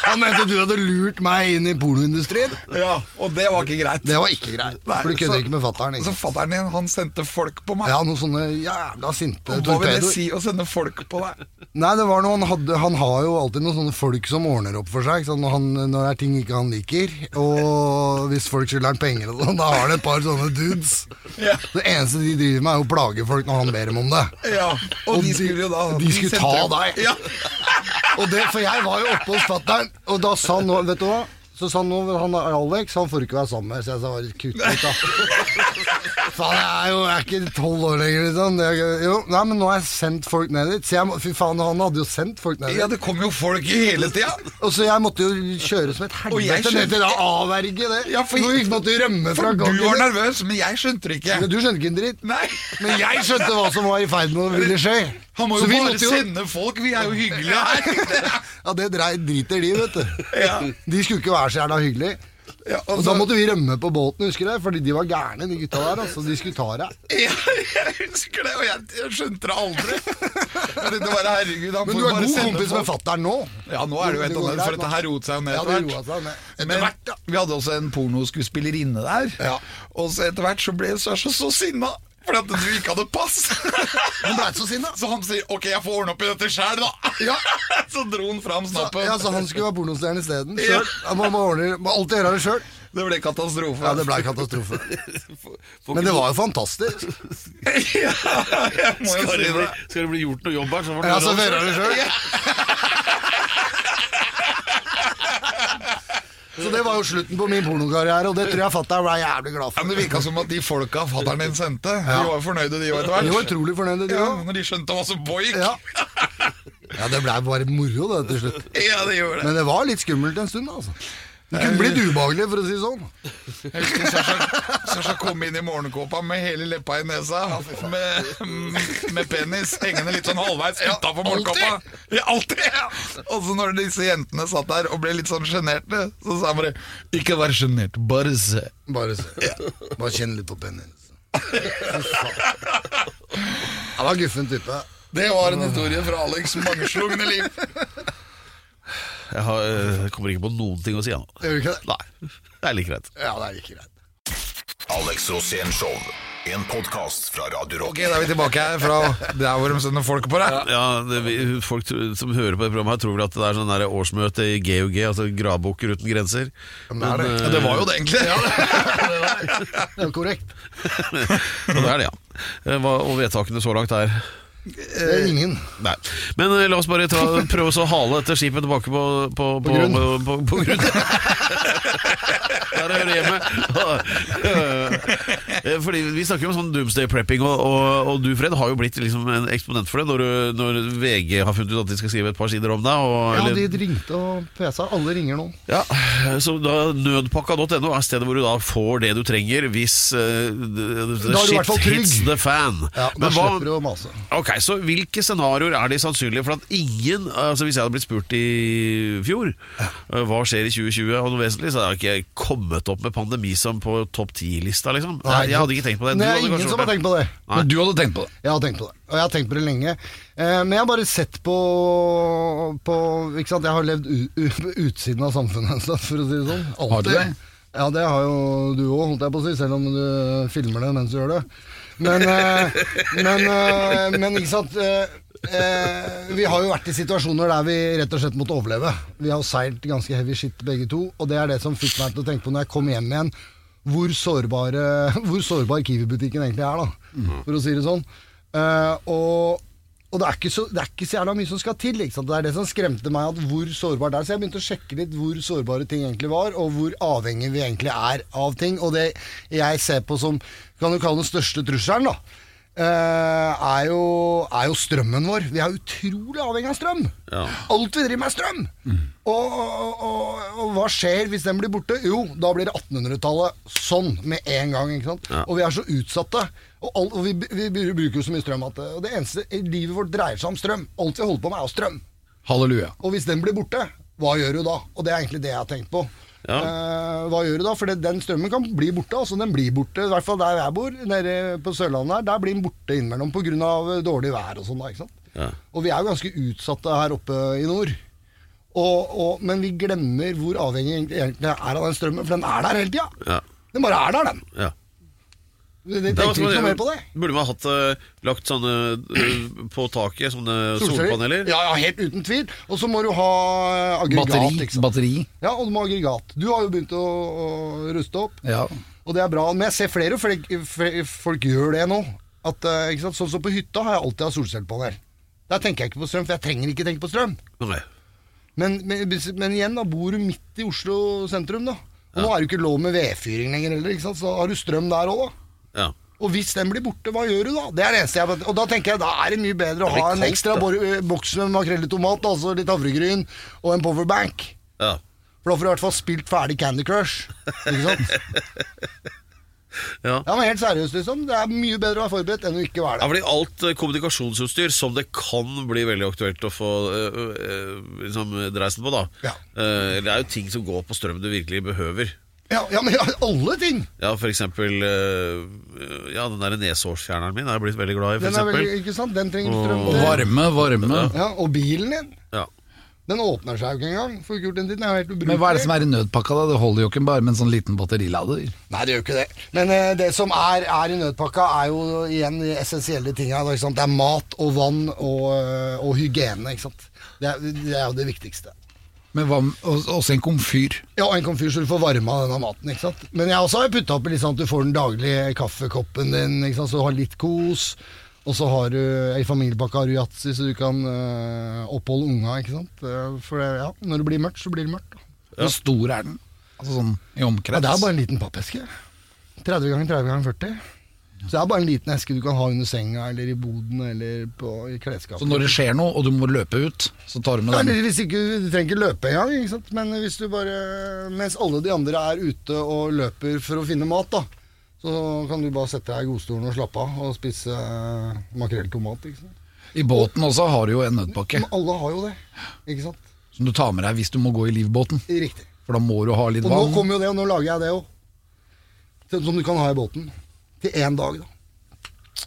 S4: Han mente du hadde lurt meg inn i pornoindustrien.
S1: Ja, og det var ikke greit.
S4: Det var ikke greit.
S1: Nei,
S4: For du
S1: så-
S4: kødder ikke med fatter'n.
S1: Så
S4: ikke?
S1: fatter'n din, han sendte folk på meg.
S4: Ja, noen sånne jævla sinte
S1: Og Hva vil det
S4: torpedoer.
S1: si å sende folk på deg?
S4: Nei, det var noe han hadde Han har jo alltid noen sånne folk som ordner opp for seg. ikke sant, Når, han, når det er ting ikke han liker. Og hvis folk skylder han penger og sånn, da har han et par sånne dudes.
S1: Ja.
S4: Det eneste de driver med, er jo å plage folk når han ber dem om det.
S1: Ja, og,
S4: Og
S1: de
S4: de-
S1: skulle jo da
S4: de skulle
S1: sendte-
S4: ta deg.
S1: Ja.
S4: Og det, For jeg var jo oppe hos fatter'n, og da sa han nå Vet du hva? Så sa han nå han er Alex, han får du ikke være sammen med. Så jeg sa bare kutt ut, da. Faen, jeg er jo jeg er ikke tolv år lenger, liksom. Det er- jo, nei, men nå har jeg sendt folk ned dit. Så jeg, må- fy faen, han hadde jo sendt folk ned dit.
S1: ja, det kom jo folk i hele tida.
S4: Og så jeg måtte jo kjøre som et
S1: Og jeg
S4: helvete
S1: skjønte-
S4: ned til å avverge det.
S1: Ja, for-
S4: Hvor vi måtte rømme fra
S1: For du var nervøs, men jeg skjønte det
S4: Ja,
S1: ikke.
S4: Du skjønte ikke en dritt.
S1: Nei.
S4: Men jeg skjønte hva som var i ferd med å ville skje.
S1: Han må jo
S4: Så vi
S1: bare
S4: måtte jo-
S1: sende folk, vi er jo hyggelige her.
S4: Ja, det drei, driter de, vet du.
S1: Ja.
S4: De skulle ikke være så jævla hyggelige.
S1: Ja, altså- og
S4: Og
S1: så-
S4: da måtte vi rømme på båten, husker du? Fordi de var gærne, de gutta der. altså. De skulle ta deg.
S1: Ja, jeg husker det, og jeg, jeg skjønte det aldri. Jeg tenkte bare, herregud, han
S4: Men
S1: får
S4: du er
S1: bare
S4: god
S1: sende
S4: kompis
S1: folk.
S4: med fatter'n nå.
S1: Ja, nå er det jo et
S4: går
S1: annet, for
S4: greit,
S1: dette
S4: nå.
S1: her roet seg jo ned
S4: Ja,
S1: etter
S4: det roet seg
S1: hvert.
S4: ned. Etter
S1: Men
S4: hvert, ja.
S1: vi hadde også en pornoskuespillerinne der, og så etter hvert så ble Sasha så sinna. Fordi at du ikke hadde pass.
S4: Hun ble så sinna.
S1: Så han sier 'ok, jeg får ordne opp i dette sjæl', da.
S4: Ja.
S1: Så dro han fram snappen.
S4: Ja, så han skulle være pornostjerne isteden.
S1: Ja.
S4: Selv. Ja, Man må, ordne, må alltid gjøre det sjøl.
S1: Det ble katastrofe.
S4: Ja, det ble katastrofe. Men det var jo fantastisk.
S1: ja, jeg må jo
S2: Skal
S1: si
S2: det bli,
S1: det.
S2: skal det bli gjort noe jobb her, så får det
S4: Ja, så
S2: være
S4: hører det sjøl. Så det var jo slutten på min pornokarriere, og det tror jeg fatter'n ble jævlig glad
S1: Ja, men
S4: for.
S1: det virka som at de folka fatteren din sendte, de var jo fornøyde, de òg, etter
S4: De var
S1: hvert.
S4: utrolig fornøyde, de
S1: Ja,
S4: òg.
S1: når de skjønte hva som pågikk.
S4: Ja. ja, det blei bare moro det til slutt.
S1: Ja, det gjorde det.
S4: Men det var litt skummelt en stund, altså. Det kunne blitt ubehagelig, for å si det sånn.
S1: Jeg husker Sasha, Sasha kom inn i morgenkåpa med hele leppa i nesa, med, med penis hengende litt sånn halvveis utafor morgenkåpa. Ja, alltid! Ja. Og så når disse jentene satt der og ble litt sånn sjenerte, så sa han bare 'ikke vær sjenert, bare se'.
S4: Bare, se. bare kjenn litt på pennen hennes. Han var guffen type.
S1: Det var en historie fra Alex' mangslungne liv.
S2: sånn. Jeg har, jeg kommer ikke på noen ting å si, han.
S4: Gjør du ikke det?
S2: Nei, det er like greit.
S4: Ja, det er ikke greit.
S3: Alex Rosén Show. En podkast fra Radio Rock.
S1: Ok, da er vi tilbake her fra der hvor de sender folk på deg.
S2: Ja, det, vi- folk tr- som hører på det programmet her tror vel at det er sånn der årsmøte i GUG, altså Gravbukker uten grenser. Men,
S4: det er
S2: eh,
S1: Ja, det var jo det, egentlig.
S4: Det er korrekt.
S2: så det er det, ja. Eh, Hva, og vedtakene så langt er
S4: Det er
S1: Eh,
S4: ingen.
S2: Nei. Men eh, la oss bare ta, prøve oss å hale dette skipet tilbake på, på, på, på grunn.
S4: grunn.
S2: På, på, grunn. Der hører det hjemme. Eh, Fordi Vi snakker jo om sånn doomsday prepping, og, og, og du Fred har jo blitt liksom en eksponent for det når, du- når VG har funnet ut at de skal skrive et par sider om deg. Og,
S4: Ja,
S2: eller-
S4: de ringte og pesa. Alle ringer nå.
S2: Ja, så da Nødpakka.no er stedet hvor du da får det du trenger hvis eh, the, the
S4: Da er du i
S2: shit
S4: hvert fall trygg.
S2: hits the fan.
S4: Ja, da
S2: Men hva-
S4: slipper du å mase.
S2: Ok, så Hvilke scenarioer er de sannsynlige? For at ingen, altså Hvis jeg hadde blitt spurt i fjor eh, hva skjer i 2020, og noe vesentlig, så hadde jeg ikke kommet opp med pandemi som på topp ti-lista. liksom Nei, Jeg hadde ikke tenkt på det. Du
S4: Det er
S2: hadde kanskje
S4: ingen som
S2: gjort
S4: har tenkt på det.
S2: Nei.
S1: Men du hadde tenkt på det.
S4: Jeg har tenkt på det, og jeg har tenkt på det lenge. Eh, men jeg har bare sett på, på Ikke sant, jeg har levd u u utsiden av samfunnet en stund, for å si det sånn. Alltid.
S1: Har du det?
S4: Ja, det har jo du òg, holdt jeg på å si, selv om du filmer det mens du gjør det. Men, eh, men, eh, men ikke sant eh, eh, Vi har jo vært i situasjoner der vi rett og slett måtte overleve. Vi har jo seilt ganske heavy shit begge to, og det er det som fikk meg til å tenke på når jeg kom hjem igjen, hvor, sårbare, hvor sårbar Kiwi-butikken egentlig er, da, for å si det sånn. Eh, og, og det, er ikke så, det er ikke så jævla mye som skal til. Ikke sant? Det er det som skremte meg, at hvor sårbar det er. Så jeg begynte å sjekke litt hvor sårbare ting egentlig var, og hvor avhengig vi egentlig er av ting. Og det jeg ser på som kan du kalle den største trusselen, da, eh, er, jo, er jo strømmen vår. Vi er utrolig avhengig av strøm.
S2: Ja.
S4: Alt vi driver med, er strøm. Og, og, og, og hva skjer hvis den blir borte? Jo, da blir det 1800-tallet sånn med en gang. ikke sant?
S2: Ja.
S4: Og vi er så utsatte. Og, all, og vi, vi bruker jo så mye strøm at eh, og det eneste i livet vårt dreier seg om strøm. Alt vi holder på med, er jo strøm.
S1: Halleluja.
S4: Og hvis den blir borte, hva gjør du da? Og det er egentlig det jeg har tenkt på.
S2: Ja.
S4: Eh, hva gjør du da? For det, den strømmen kan bli borte. Altså den blir borte, i hvert fall der jeg bor, nede på Sørlandet her. Der blir den borte innimellom pga. dårlig vær og sånn. da, ikke sant?
S2: Ja.
S4: Og vi er jo ganske utsatte her oppe i nord. Og, og, men vi glemmer hvor avhengig egentlig- egentlig er av den strømmen, for den er der hele tida.
S2: Ja.
S4: Den bare er der, den.
S2: Ja.
S4: De
S2: Det
S4: tenker
S2: var
S4: ikke
S2: sånn-
S4: noe mer på det.
S2: Burde man hatt eh, lagt sånne eh, på taket, sånne solpaneler?
S4: Ja, ja, helt uten tvil. Og så må du ha eh, aggregat. ikke sant?
S1: batteri.
S4: Ja, og du må ha aggregat. Du har jo begynt å, å ruste opp.
S1: Ja.
S4: Og det er bra, men jeg ser flere og flere, flere folk gjør det nå. At, eh, ikke sant? Sånn som på hytta har jeg alltid hatt solcellepanel. Der tenker jeg ikke på strøm, for jeg trenger ikke tenke på strøm.
S2: Nei.
S4: Men, men, men igjen, da bor du midt i Oslo sentrum, da. Og nå er det jo ikke lov med vedfyring lenger heller, ikke sant? så da har du strøm der òg, da.
S2: Ja.
S4: Og hvis den blir borte, hva gjør du da? Det er det eneste jeg Og da tenker jeg da er det mye bedre å
S2: Det blir
S4: ha en
S2: kaldt,
S4: ekstra
S2: da.
S4: bor- eh, boks med makrell i tomat, altså litt havregryn, og en powerbank.
S2: ja.
S4: For da får du i hvert fall spilt ferdig Candy Crush. Ikke sant?
S2: Ja.
S4: Ja, men helt seriøst, liksom. Det er mye bedre å være forberedt enn å ikke være
S2: Ja,
S4: det.
S2: fordi Alt eh, kommunikasjonsutstyr som det kan bli veldig aktuelt å få eh, eh, liksom, dreisen på, da.
S4: Ja.
S2: Eh, det er jo ting som går på strøm du virkelig behøver.
S4: Ja, ja, men ja, alle ting!
S2: Ja, for eksempel eh, Ja, den der neshårsfjerneren min er jeg blitt veldig glad i, for
S4: Den er
S2: eksempel.
S4: veldig, ikke sant? Den trenger strøm.
S1: Og
S4: til.
S1: varme, varme.
S4: Ja, og bilen din.
S2: Ja.
S4: Den åpner seg jo ikke engang. For kulturen din er jo helt ubrukelig.
S1: Men hva er det som er i nødpakka, da? Det holder jo ikke bare med en sånn liten batterilader.
S4: Nei, det gjør ikke det. Men eh, det som er, er i nødpakka, er jo igjen de essensielle tinga. da, ikke sant? Det er mat og vann og, eh, og hygiene, ikke sant. Det er, det er jo det viktigste.
S1: Men hva med og- også en komfyr?
S4: Ja, og en komfyr så du får varme av denne maten, ikke sant. Men jeg har også har putta oppi litt sånn at du får den daglige kaffekoppen din, ikke sant, så du har litt kos. Og så har du ei familiepakke av Rujatsi, så du kan eh, oppholde unga, ikke sant. Eh, For det, ja, når det blir mørkt, så blir det mørkt. da.
S1: Hvor stor er den? Altså sånn i omkrets?
S4: Ja, det er bare en liten pappeske. 30 ganger 30 ganger 40. Så det er bare en liten eske du kan ha under senga, eller i boden, eller på, i klesskapet.
S1: Så når det skjer noe, og du må løpe ut, så tar du med
S4: Ja,
S1: den?
S4: eller hvis ikke, du trenger ikke løpe engang, ikke sant? men hvis du bare, mens alle de andre er ute og løper for å finne mat, da, så kan du bare sette deg i godstolen og slappe av og spise eh, makrell i tomat. Ikke sant?
S1: I båten også har du jo en nødpakke
S4: Men alle har jo det, ikke sant?
S1: som du tar med deg hvis du må gå i livbåten.
S4: Riktig.
S1: For da må du ha litt
S4: Og nå
S1: vann.
S4: kommer jo det, og nå lager jeg det òg. Som du kan ha i båten. Til én dag, da.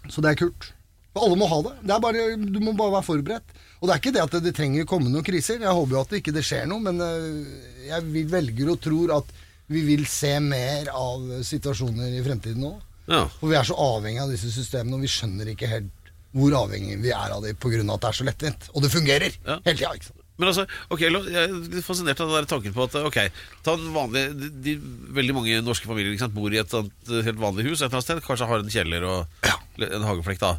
S4: Så det er kult. Og alle må ha det. det er bare, du må bare være forberedt. Og det er ikke det at det, det trenger å komme noen kriser. Jeg håper jo at det ikke det skjer noe, men øh, jeg vil- velger og tror at vi vil se mer av situasjoner i fremtiden òg.
S2: Ja.
S4: For vi er så avhengig av disse systemene, og vi skjønner ikke helt hvor avhengig vi er av det pga. at det er så lettvint. Og det fungerer
S2: Ja.
S4: hele tida, ikke sant.
S2: Men altså, ok, la- jeg er litt fascinert av den der tanken på at ok, ta den vanlige, de, de, veldig mange norske familier ikke sant, bor i et annet, eh, helt vanlig hus et eller annet sted, kanskje har en kjeller og eller en hageflekk da.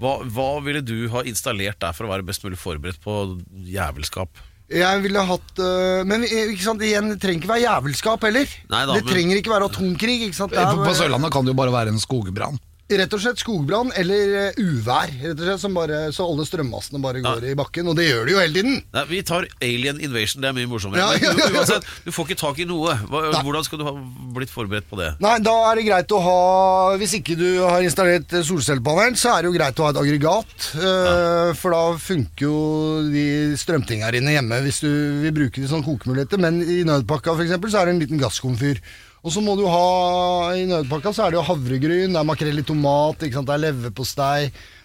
S2: Hva, hva ville du ha installert der for å være best mulig forberedt på jævelskap?
S4: Jeg ville hatt øh, Men eh, ikke sant, igjen, det trenger ikke være jævelskap heller.
S2: Nei da,
S4: det
S2: men-
S4: trenger ikke være atomkrig. ikke sant? Det
S1: Eh, På,
S4: er,
S1: på Sørlandet kan det jo bare være en skogbrann.
S4: Rett og slett skogbrann eller eh, uvær. rett og slett, som bare, Så alle strømmastene bare går i bakken. Og det gjør de jo hele tiden.
S2: Nei, vi tar Alien Invasion, det er mye morsommere.
S4: Ja,
S2: Men
S4: ja, ja,
S2: du-
S4: ja.
S2: Uansett, du får ikke tak i noe. Hva,
S4: Nei.
S2: hvordan skal du ha blitt forberedt på det?
S4: Nei, da er det greit å ha Hvis ikke du har installert eh, solcellepanel, så er det jo greit å ha et aggregat. eh, For da funker jo de strømtinga dine hjemme hvis du vil bruke de sånne kokemuligheter. Men i nødpakka for eksempel, så er det en liten gasskomfyr. Og så må du ha I nødpakka så er det jo havregryn, det er makrell i tomat, ikke sant? det er leverpostei,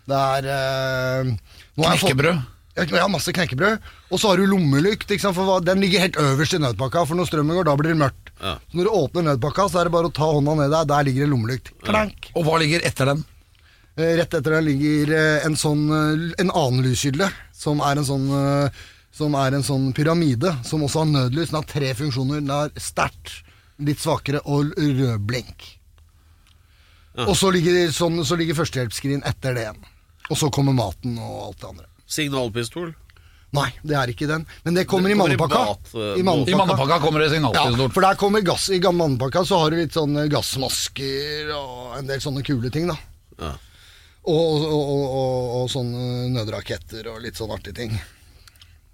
S4: det er eh, nå har jeg fått-
S1: Knekkebrød.
S4: Ja, kn- ja, masse knekkebrød. Og så har du lommelykt. Ikke sant? For hva- den ligger helt øverst i nødpakka, for når strømmen går, da blir det mørkt.
S2: Ja.
S4: Så når du åpner nødpakka, så er det bare å ta hånda ned der. Der ligger det lommelykt. Klank.
S1: Og hva ligger etter den?
S4: Eh, Rett etter der ligger eh, en sånn eh, En annen lyskilde, som er en sånn eh, Som er en sånn pyramide, som også har nødlys. Den har tre funksjoner. Den er sterkt, litt svakere og l- rødblink. Og så ligger, sånn, så ligger førstehjelpsskrin etter det igjen. Og så kommer maten og alt det andre.
S2: Signalpistol?
S4: Nei, det er ikke den. Men det kommer
S2: Det
S4: i
S2: kommer i
S4: mannepakka.
S2: mat, eh,
S1: I mannepakka kommer det
S4: Ja,
S1: signalpistol.
S4: for der kommer gass. I gam- mannepakka så har du litt sånn gassmasker og en del sånne kule ting, da.
S2: Ja.
S4: Og, og, og, og, og sånne nødraketter og litt sånn artige ting.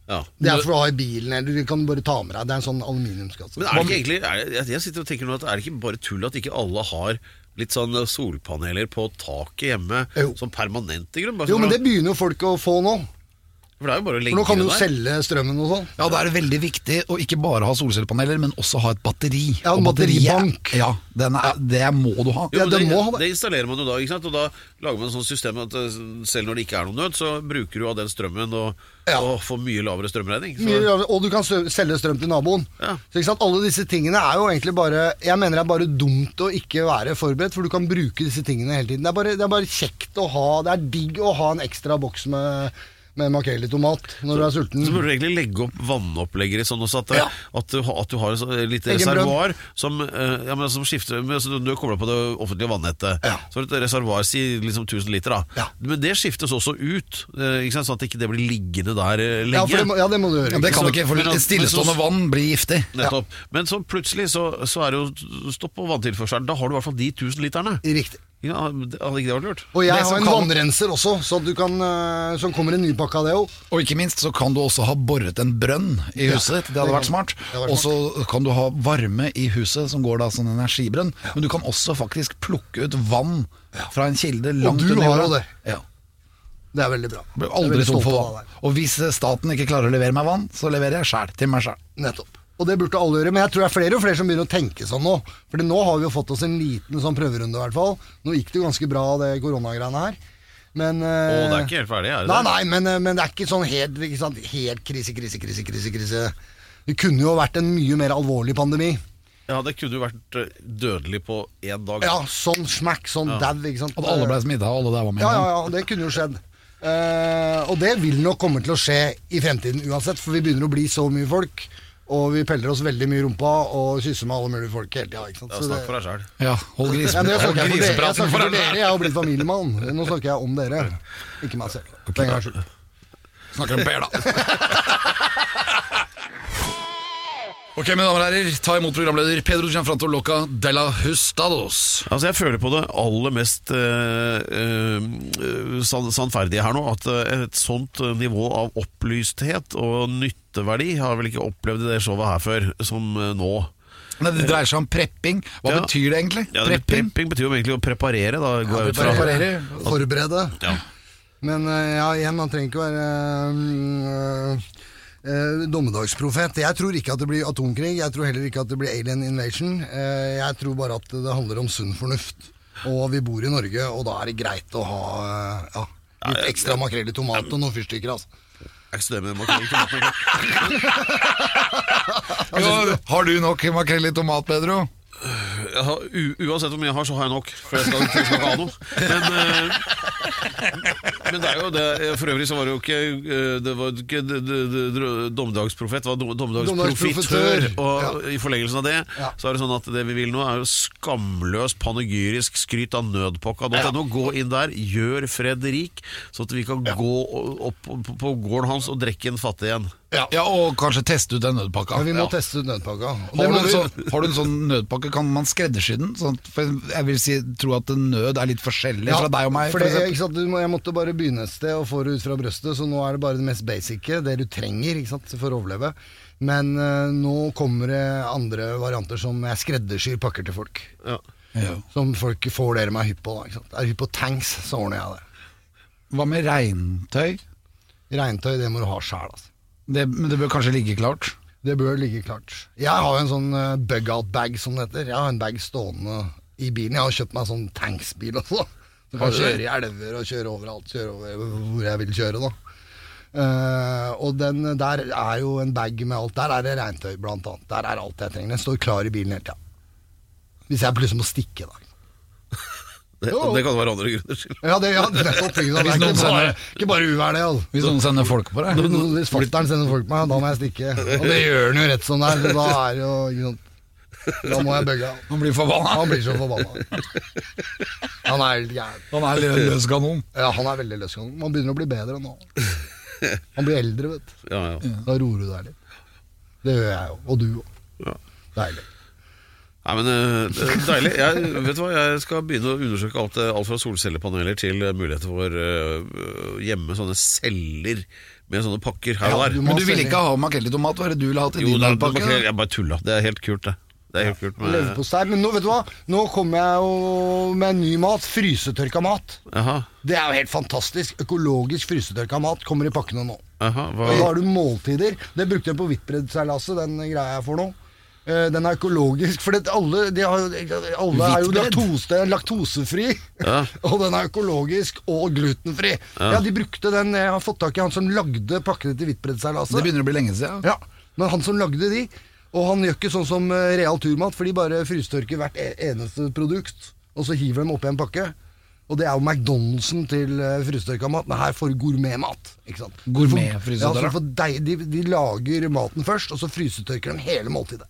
S2: Ja.
S4: Det er for å ha i bilen, eller du kan bare ta med deg. Det er en sånn aluminiumskasse.
S2: Men er det ikke egentlig er det, jeg- Jeg sitter og tenker nå at er det ikke bare tull at ikke alle har litt sånn solpaneler på taket hjemme
S4: Jo.
S2: som permanente grunn? Bare
S4: Jo,
S2: sånn
S4: men
S2: at-
S4: det begynner jo folk å få nå.
S2: for det er jo bare å
S4: For
S2: legge
S4: nå kan du
S2: det
S4: jo
S2: der.
S4: selge strømmen og sånn.
S1: Ja, da er det veldig viktig å ikke bare ha solcellepaneler, men også ha et batteri.
S4: Ja, en
S1: Og batteriet-
S4: batteribank.
S1: Ja, den er, det må du ha.
S2: Jo,
S4: Ja,
S2: men
S4: det
S2: det,
S4: må ha
S2: det.
S4: det.
S2: installerer man jo da, ikke sant? og da lager man et sånt system at eh, selv når det ikke er noen nød, så bruker du av den strømmen og,
S4: Ja.
S2: og får mye lavere strømregning.
S4: Mye
S2: Så,
S4: lavere, og du kan sø- selge strøm til naboen.
S2: Ja.
S4: Så ikke sant, Alle disse tingene er jo egentlig bare Jeg mener det er bare dumt å ikke være forberedt, for du kan bruke disse tingene hele tiden. Det er bare, det er bare kjekt å ha Det er digg å ha en ekstra boks med, med makrell i tomat når du er sulten.
S2: så burde du egentlig legge opp vannoppleggere sånn også, at, eh,
S4: Ja.
S2: at, du, ha- at du har et sånt lite
S4: Egen brønn.
S2: reservoar som, eh, ja, men, som skifter men, altså, Du er koblet på det offentlige vannettet.
S4: Ja.
S2: Så har du et reservoar, si liksom 1000 liter, da.
S4: Ja.
S2: Men det skiftes også ut, eh, ikke sant? sånn at ikke det blir liggende der eh, lenge.
S4: ja, for det må, ja, det må du gjøre.
S1: Ja, det kan
S2: Så-
S1: du ikke,
S2: men-
S1: for
S2: men-
S1: stillestående vann blir giftig.
S2: Nettopp. Men så plutselig så, så er det jo stopp på vanntilførselen. Da har du i hvert fall de 1000 literne.
S4: Riktig.
S2: Ja, det- hadde ikke det vært lurt?
S4: Og
S1: Det
S4: jeg har
S1: som
S4: en
S1: kan-
S4: vannrenser også, så du kan, eh, som kommer i en ny pakke av det òg.
S1: Og ikke minst så kan du også ha boret en brønn i
S4: Ja,
S1: huset ditt. Det
S4: det
S1: hadde
S4: kan-
S1: vært smart.
S4: det hadde vært
S1: Og så kan du ha varme i huset, som går da som en energibrønn. Men du kan også faktisk plukke ut vann fra en kilde langt
S4: du
S1: under jorda.
S4: har jo det.
S1: Ja.
S4: Det er veldig bra.
S1: Blir
S4: Jeg er
S1: aldri
S4: veldig
S1: tom
S4: stolt
S1: for
S4: av
S1: vann.
S4: deg.
S1: Og hvis eh, staten ikke klarer å levere meg vann, så leverer jeg sjæl til meg sjæl.
S4: Nettopp. Og det burde alle gjøre, men jeg tror det er flere og flere som begynner å tenke sånn nå. For nå har vi jo fått oss en liten sånn prøverunde, i hvert fall. Nå gikk det jo ganske bra, det koronagreiene her. Men eh,
S2: Å, det er ikke helt ferdig, er det
S4: Nei,
S2: det?
S4: nei, men, eh, men det er ikke sånn helt, ikke sant? helt krise, krise, krise, krise, krise. Det kunne jo vært en mye mer alvorlig pandemi.
S2: Ja, det kunne jo vært eh, dødelig på én dag.
S4: Ja, sånn smack, sånn dau, ikke sant.
S1: At alle ble smitta, og alle der var med.
S4: Ja, ja, ja, det kunne jo skjedd. Eh, og det vil nok komme til å skje i fremtiden uansett, for vi begynner å bli så mye folk, og vi peller oss veldig mye i rumpa og kysser med alle mulige folk hele tida. ikke sant?
S2: Ja,
S4: Så
S2: Snakk
S4: det-
S2: for deg sjæl.
S1: Ja, hold
S4: Ja, men jeg
S1: grisepraten
S4: snakker ikke for dere, jeg
S1: grisepraten for
S4: snakker for
S1: deg
S4: dere. Jeg har blitt familiemann. Nå snakker jeg om dere, ikke meg selv. For en gangs skyld.
S1: Snakker om Per, da. Ok, mine damer og herrer, ta imot programleder Pedro Gianfranto Loca de la Hustados.
S2: Altså, jeg føler på det aller mest eh, eh, san- sannferdige her nå, at eh, et sånt nivå av opplysthet og nytteverdi har jeg vel ikke opplevd i det showet her før, som eh, nå.
S1: Nei, Det dreier seg om prepping. Hva
S2: Ja.
S1: betyr det egentlig?
S2: Ja, det-
S1: prepping?
S2: prepping betyr jo egentlig å preparere, da. Går jeg ut fra.
S1: Preparere.
S4: Forberede.
S2: Ja.
S4: Men eh, ja, igjen, man trenger ikke å være mm, eh, eh, dommedagsprofet. Jeg tror ikke at det blir atomkrig. Jeg tror heller ikke at det blir alien invasion. Eh, jeg tror bare at det handler om sunn fornuft. Og vi bor i Norge, og da er det greit å ha eh, ja, litt ekstra makrell i tomat og noen fyrstikker. Altså.
S2: Jeg er ikke så dømmig, man kan ikke maten, ikke?
S1: Jo, har du nok makrell i tomat, Pedro?
S2: Jeg har- u- Uansett hvor mye jeg har, så har jeg nok. For jeg skal jeg skal ikke ha noe. Men, eh, men det er jo det For øvrig så var det jo ikke eh, Det var ikke d- d- d- dr- dommedagsprofet, det var dom- dommedagsprofitør.
S4: Dommedagsprofitør,
S2: Og i forlengelsen av det,
S4: Ja.
S2: så er det sånn at det vi vil nå, er jo skamløs panegyrisk skryt av nødpakka.no. Gå inn der, gjør Fred rik, sånn at vi kan gå opp på- på gården hans og drikke en fattig en.
S1: Ja. Og kanskje teste ut den nødpakka.
S4: Men vi må
S1: Ja.
S4: teste ut nødpakka. Og det
S1: Har du,
S4: må
S1: en
S4: vi-
S1: sånn, har du en sånn nødpakke, kan man skreddersy den? Sånn, at- for jeg vil si, tro at nød er litt forskjellig fra deg og meg. for
S4: For det,
S1: eksempel.
S4: ikke sant? Du må, jeg måtte bare begynne et sted og få det ut fra brøstet, så nå er det bare det mest basice, det du trenger ikke sant? for å overleve. Men eh, nå kommer det andre varianter som jeg skreddersyr pakker til folk.
S2: Ja.
S1: ja.
S4: Som folk får dere meg hypp på. Da, ikke sant? Er du hypp på tanks, så ordner jeg det.
S1: Hva med regntøy?
S4: Regntøy, det må du ha sjæl, altså.
S1: Det, men det bør kanskje ligge klart?
S4: Det bør ligge klart. Jeg har jo en sånn eh, bug-out-bag, som det heter. Jeg har en bag stående i bilen. Jeg har kjøpt meg en sånn tanksbil også. Som kan kjøre i elver og kjøre overalt. Kjøre over hvor jeg vil kjøre, da. Eh, og den der er jo en bag med alt. Der er det regntøy, blant annet. Der er alt jeg trenger. Den står klar i bilen hele tida. Hvis jeg plutselig må stikke, da.
S2: Det,
S4: Jo.
S2: det kan være andre grunner til.
S4: Ja, det, ja, nettopp, ikke, sant? det
S1: Hvis
S4: er
S1: noen
S4: ikke bare,
S1: sender-
S4: ikke bare uvær, det. Altså.
S1: Hvis noen sender folk på deg?
S4: Hvis fatter'n sender folk meg, da må jeg stikke. Og det gjør han jo rett som det er. så Da er det jo ikke sant. Da må jeg bugge av.
S1: Han blir forbanna.
S4: Han blir så forbanna. Han er helt gæren.
S1: Han er en løs kanon.
S4: Ja, han er veldig løsgang. Man begynner å bli bedre nå. Han blir eldre, vet du.
S2: Ja, ja.
S4: Da roer du deg litt. Det gjør jeg jo. Og du
S2: Ja.
S4: òg. Deilig.
S2: Nei, men eh, det er Deilig. Jeg, vet du hva, jeg skal begynne å undersøke alt, det- alt fra solcellepaneler til eh, muligheter for eh, hjemme sånne celler med sånne pakker her og
S4: Ja,
S2: der.
S4: du må
S1: Men du ville ikke ha makrell i tomat? Hva er det du ville ha til
S2: Jo,
S1: din
S2: det er,
S1: nødpakke?
S2: makrell- jeg bare tulla. Det er helt kult, det. Det er helt kult med
S4: Leverpostei. Men nå, vet du hva? Nå kommer jeg jo med ny mat. Frysetørka mat.
S2: Jaha,
S4: Det er jo helt fantastisk. Økologisk frysetørka mat kommer i pakkene nå.
S2: jaha, hva
S4: Og da har du måltider. Det brukte jeg på hvittbreddseilaset, den greia jeg får nå. Eh, Den er økologisk, for det, alle, de har, jo- alle er jo
S1: Hvittbredd?
S4: laktose, den er laktosefri.
S2: Ja.
S4: Og den er økologisk og glutenfri. Ja. de brukte den Jeg har fått tak i han som lagde pakkene til
S1: Det
S4: hvittbreddseilaset.
S1: begynner å bli lenge siden.
S4: Ja, men han som lagde de. Og han gjør ikke sånn som eh, Real Turmat, for de bare frysetørker hvert e- eneste produkt. Og så hiver de oppi en pakke. Og det er jo McDonald'sen til eh, frysetørka mat. Men her får du gourmetmat. ikke sant? Ja,
S1: Gourmetfrysetørker.
S4: så for deg, de, de lager maten først, og så frysetørker de hele måltidet.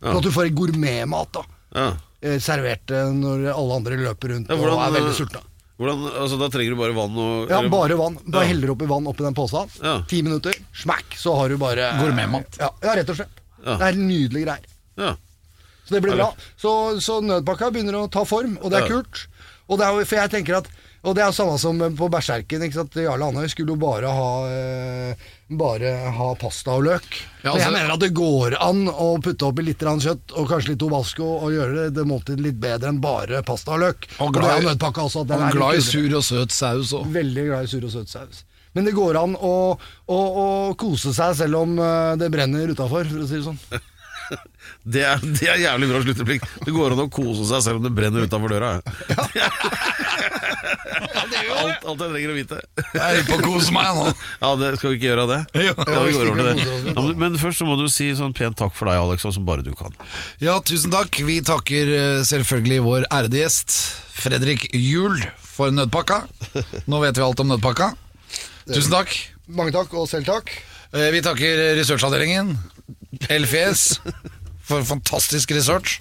S4: Sånn at du får gourmetmat da,
S2: ja.
S4: eh, servert eh, når alle andre løper rundt
S2: Ja, hvordan,
S4: og er veldig
S2: eh,
S4: sultne.
S2: hvordan, altså, da trenger du bare vann og
S4: Ja,
S2: eller-
S4: bare vann. Bare
S2: Ja.
S4: heller oppi vann oppi den posen.
S2: Ja.
S4: Ti minutter, smack, så har du bare
S1: Gourmetmat.
S4: Ja, ja, rett og slett.
S2: Ja.
S4: Det er nydelige greier.
S2: Ja.
S4: Så det blir
S2: Ja,
S4: bra. Så, så nødpakka begynner å ta form, og det
S2: Ja.
S4: er kult. Og det er, jo- for jeg tenker at Og det er jo samme som på Berserken. Ikke sant? Jarle Andøy skulle jo bare ha eh, Bare ha pasta og løk.
S1: Ja,
S4: Men
S1: altså-
S4: jeg mener at det går an å putte oppi litt grann kjøtt og kanskje litt tobasco og gjøre det, det måltidet litt bedre enn bare pasta og løk. Og,
S1: Og
S4: det er
S1: glad i-
S4: jo nødpakka også. at den
S1: Han
S4: er
S1: er glad i
S4: litt kulere.
S1: sur og søt saus òg.
S4: Veldig glad i sur og søt saus. Men det går an å, å, å kose seg selv om eh, det brenner utafor, for å si det sånn.
S2: Det er, det er jævlig bra slutteplikt. Det går an å kose seg selv om det brenner utafor døra. alt, alt jeg trenger å vite.
S6: Jeg er på å kose meg nå.
S2: Ja, det, Skal vi ikke gjøre det?
S6: Jo.
S2: ja, vi går over til
S4: Ja, vi
S2: det. Ja, men, men først så må du si sånn pent takk for deg, Alex, og som bare du kan.
S6: Ja, tusen takk. Vi takker eh, selvfølgelig vår ærede gjest, Fredrik Juel, for nødpakka. Nå vet vi alt om nødpakka. Tusen takk.
S4: Mange takk, og selv takk.
S6: Eh, Vi takker researchavdelingen, LFS, for fantastisk research.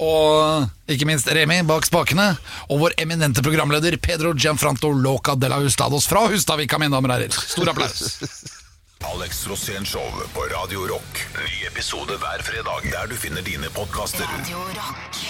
S6: Og ikke minst Remi bak spakene, og vår eminente programleder Pedro Gianfranto Loca de la Hustados fra Hustadvika, mine damer og herrer. Stor applaus.
S1: Alex Rosén Show på Radio Rock. Ny episode hver fredag der du finner dine podkaster.
S7: Radio Rock.